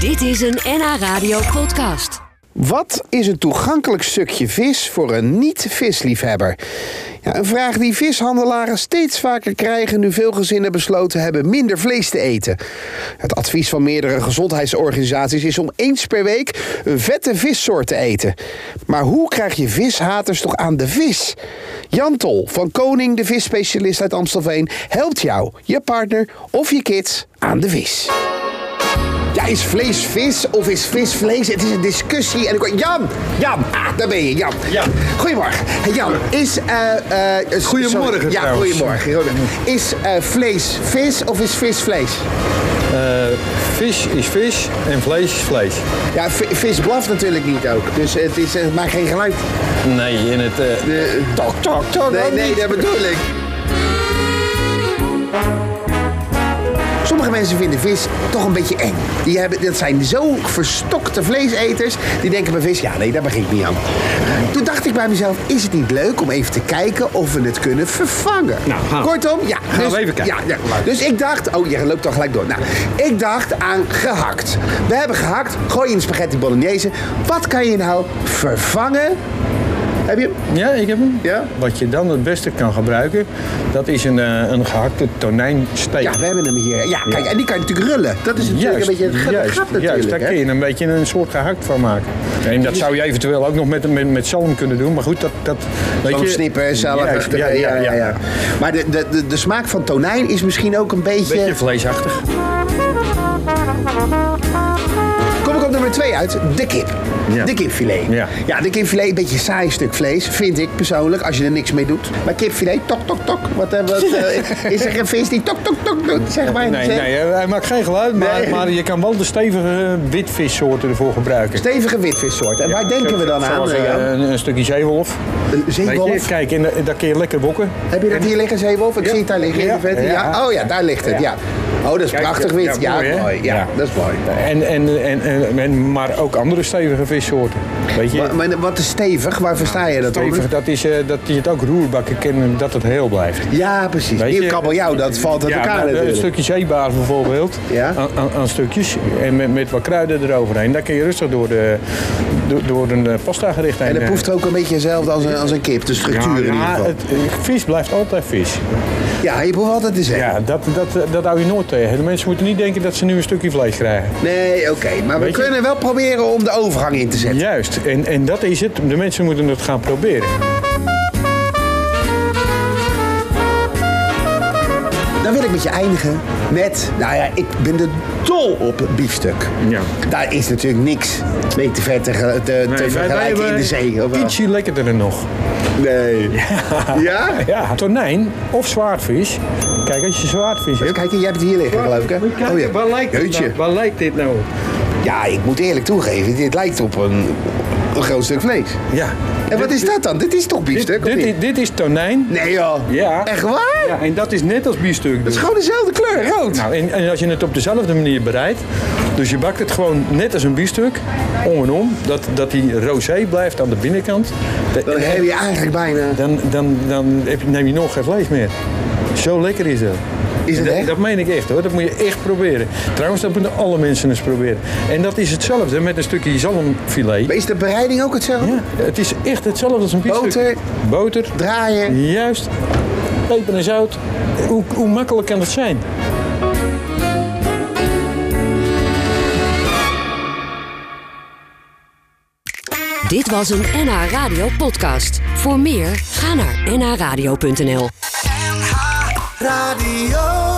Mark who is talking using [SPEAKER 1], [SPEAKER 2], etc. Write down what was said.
[SPEAKER 1] Dit is een NH Radio podcast.
[SPEAKER 2] Wat is een toegankelijk stukje vis voor een niet-visliefhebber? Ja, een vraag die vishandelaren steeds vaker krijgen nu veel gezinnen besloten hebben minder vlees te eten. Het advies van meerdere gezondheidsorganisaties is om eens per week een vette vissoort te eten. Maar hoe krijg je vishaters toch aan de vis? Jan Tol van Koning, de visspecialist uit Amstelveen, helpt jou, je partner of je kids aan de vis. Ja, is vlees vis of is vis vlees? Het is een discussie. En ik hoor- Jan, Jan, ah, daar ben je, Jan.
[SPEAKER 3] Jan.
[SPEAKER 2] Goedemorgen. Hey, Jan, is... eh, eh, eh,
[SPEAKER 3] Goedemorgen
[SPEAKER 2] sorry. Ja,
[SPEAKER 3] trouwens.
[SPEAKER 2] goedemorgen. goedemorgen. Is eh, vlees vis of is vis vlees?
[SPEAKER 3] Eh, vis is vis en vlees is vlees.
[SPEAKER 2] Ja, vi- vis blaft natuurlijk niet ook. Dus het, is, eh, maakt geen geluid.
[SPEAKER 3] Nee, in het... eh,
[SPEAKER 2] De,
[SPEAKER 3] tok, tok, tok.
[SPEAKER 2] nee,
[SPEAKER 3] ook
[SPEAKER 2] nee,
[SPEAKER 3] niet.
[SPEAKER 2] dat bedoel ik. Sommige mensen vinden vis toch een beetje eng. Die hebben, dat zijn zo verstokte vleeseters. Die denken bij vis, ja nee, daar begin ik niet aan. Toen dacht ik bij mezelf, is het niet leuk om even te kijken of we het kunnen vervangen?
[SPEAKER 3] Nou, gaan we.
[SPEAKER 2] Kortom, ja.
[SPEAKER 3] Gaan we even kijken.
[SPEAKER 2] Ja, ja. Dus ik dacht, oh je loopt al gelijk door. Nou, ik dacht aan gehakt. We hebben gehakt, gooi in spaghetti bolognese. Wat kan je nou vervangen? Heb je hem?
[SPEAKER 3] Ja, ik heb hem.
[SPEAKER 2] Ja?
[SPEAKER 3] Wat je dan het beste kan gebruiken, dat is een, eh, een gehakte tonijnsteek.
[SPEAKER 2] Ja, we hebben hem hier. Ja, kijk, en die kan je natuurlijk rullen. Dat is natuurlijk
[SPEAKER 3] Juist,
[SPEAKER 2] een beetje het gat-
[SPEAKER 3] juist,
[SPEAKER 2] gat natuurlijk.
[SPEAKER 3] juist, daar
[SPEAKER 2] hè?
[SPEAKER 3] kun je een beetje een soort gehakt van maken. En dat zou je eventueel ook nog met, met, met zalm kunnen doen, maar goed, dat... dat weet
[SPEAKER 2] Zo'n
[SPEAKER 3] je,
[SPEAKER 2] snippen, zelf.
[SPEAKER 3] Juist, ja, ja, ja, ja.
[SPEAKER 2] Maar de, de, de, de smaak van tonijn is misschien ook een beetje...
[SPEAKER 3] Beetje vleesachtig.
[SPEAKER 2] Kom ik op nummer twee uit. De kip.
[SPEAKER 3] Ja.
[SPEAKER 2] De kipfilet.
[SPEAKER 3] Ja.
[SPEAKER 2] de kipfilet, een beetje een saai stuk vlees, vind ik persoonlijk, als je er niks mee doet. Maar kipfilet, tok, tok, tok. Wat, eh, wat, eh, is er een vis die tok, tok, tok doet? Zeg maar.
[SPEAKER 3] Nee, nee, eh, hij maakt geen geluid, maar,
[SPEAKER 2] Nee.
[SPEAKER 3] maar je kan wel de stevige eh, witvissoorten ervoor gebruiken.
[SPEAKER 2] Stevige witvissoort. En waar
[SPEAKER 3] Ja,
[SPEAKER 2] denken
[SPEAKER 3] zo-
[SPEAKER 2] we dan aan,
[SPEAKER 3] zoals,
[SPEAKER 2] eh,
[SPEAKER 3] eh,
[SPEAKER 2] Jan?
[SPEAKER 3] een, een stukje zeewolf.
[SPEAKER 2] Een zeewolf?
[SPEAKER 3] Weet je, kijk, en da- daar kun je lekker wokken.
[SPEAKER 2] Heb je dat hier liggen, Zeewolf? Ik
[SPEAKER 3] Ja.
[SPEAKER 2] zie het daar liggen.
[SPEAKER 3] Ja.
[SPEAKER 2] in de vette. Ja.
[SPEAKER 3] Ja.
[SPEAKER 2] Oh ja, daar ligt het, ja. Oh, dat is
[SPEAKER 3] Kijk,
[SPEAKER 2] prachtig
[SPEAKER 3] ja,
[SPEAKER 2] wit. Ja,
[SPEAKER 3] ja, mooi,
[SPEAKER 2] mooi.
[SPEAKER 3] hè?
[SPEAKER 2] Ja,
[SPEAKER 3] Ja.
[SPEAKER 2] dat is mooi.
[SPEAKER 3] En, en, en, en, en- maar ook andere stevige vissoorten. Weet je,
[SPEAKER 2] Maar, maar wat is stevig? Waar versta je dat
[SPEAKER 3] stevig,
[SPEAKER 2] over?
[SPEAKER 3] dat, is, eh, dat je het ook roerbakken kan en dat het heel blijft.
[SPEAKER 2] Ja, precies.
[SPEAKER 3] Weet
[SPEAKER 2] Hier
[SPEAKER 3] je-
[SPEAKER 2] kabeljauw, dat valt uit elkaar
[SPEAKER 3] maar, eh, een
[SPEAKER 2] natuurlijk.
[SPEAKER 3] stukje zeebaars bijvoorbeeld,
[SPEAKER 2] Ja.
[SPEAKER 3] aan, aan, aan stukjes, en met, met wat kruiden eroverheen. Daar kun je rustig door, de, door, door een eh, pasta gericht heen.
[SPEAKER 2] En dat
[SPEAKER 3] eh,
[SPEAKER 2] proeft ook een beetje hetzelfde als een, als een kip, de structuur in ieder
[SPEAKER 3] ja,
[SPEAKER 2] geval.
[SPEAKER 3] het, eh, vis blijft altijd vis.
[SPEAKER 2] Ja, je proeft altijd te zeggen.
[SPEAKER 3] Ja, dat, dat, dat hou je nooit tegen. De mensen moeten niet denken dat ze nu een stukje vlees krijgen.
[SPEAKER 2] Nee, oké. Maar we
[SPEAKER 3] Weet je-
[SPEAKER 2] kunnen wel proberen om de overgang in te zetten.
[SPEAKER 3] Juist, en, en dat is het. De mensen moeten het gaan proberen.
[SPEAKER 2] Dan wil ik met je eindigen met, nou ja, ik ben er dol op biefstuk.
[SPEAKER 3] Ja.
[SPEAKER 2] Daar is natuurlijk niks mee te, ver te, ge- te- te vergelijken in de zee. of wel?
[SPEAKER 3] Ietsje lekkerder nog.
[SPEAKER 2] Nee. Ja?
[SPEAKER 3] Ja, tonijn of zwaardvis. Kijk, als je zwaardvis hebt...
[SPEAKER 2] Kijk, jij hebt het hier liggen, geloof ik. Hè? Oh Jeetje.
[SPEAKER 3] waar lijkt dit nou op?
[SPEAKER 2] Ja, ik moet eerlijk toegeven, dit lijkt op een, een groot stuk vlees.
[SPEAKER 3] Ja.
[SPEAKER 2] En wat is dat dan? Dit is toch
[SPEAKER 3] Dit,
[SPEAKER 2] biefstuk?
[SPEAKER 3] dit,
[SPEAKER 2] of
[SPEAKER 3] is-
[SPEAKER 2] niet?
[SPEAKER 3] dit is tonijn.
[SPEAKER 2] Nee joh.
[SPEAKER 3] Ja.
[SPEAKER 2] Echt waar?
[SPEAKER 3] Ja, en dat is net als biefstuk. dus.
[SPEAKER 2] Het is gewoon dezelfde kleur, rood.
[SPEAKER 3] Nou, en, en als je het op dezelfde manier bereidt, dus je bakt het gewoon net als een biefstuk, om en om, dat, dat die rosé blijft aan de binnenkant, De-
[SPEAKER 2] Dan heb je eigenlijk bijna...
[SPEAKER 3] dan, dan, dan heb je- neem je nog geen vlees meer. Zo lekker is dat.
[SPEAKER 2] Is het
[SPEAKER 3] dat,
[SPEAKER 2] echt?
[SPEAKER 3] dat meen ik echt hoor, dat moet je echt proberen. Trouwens, dat moeten alle mensen eens proberen. En dat is hetzelfde met een stukje zalmfilet.
[SPEAKER 2] Maar Is de bereiding ook hetzelfde?
[SPEAKER 3] Ja, het is echt hetzelfde als een biefstuk.
[SPEAKER 2] Boter.
[SPEAKER 3] Boter,
[SPEAKER 2] Draaien.
[SPEAKER 3] juist, peper en zout. Hoe, hoe makkelijk kan dat zijn?
[SPEAKER 1] Dit was een NH Radio podcast. Voor meer, ga naar nhradio.nl.
[SPEAKER 4] Radio.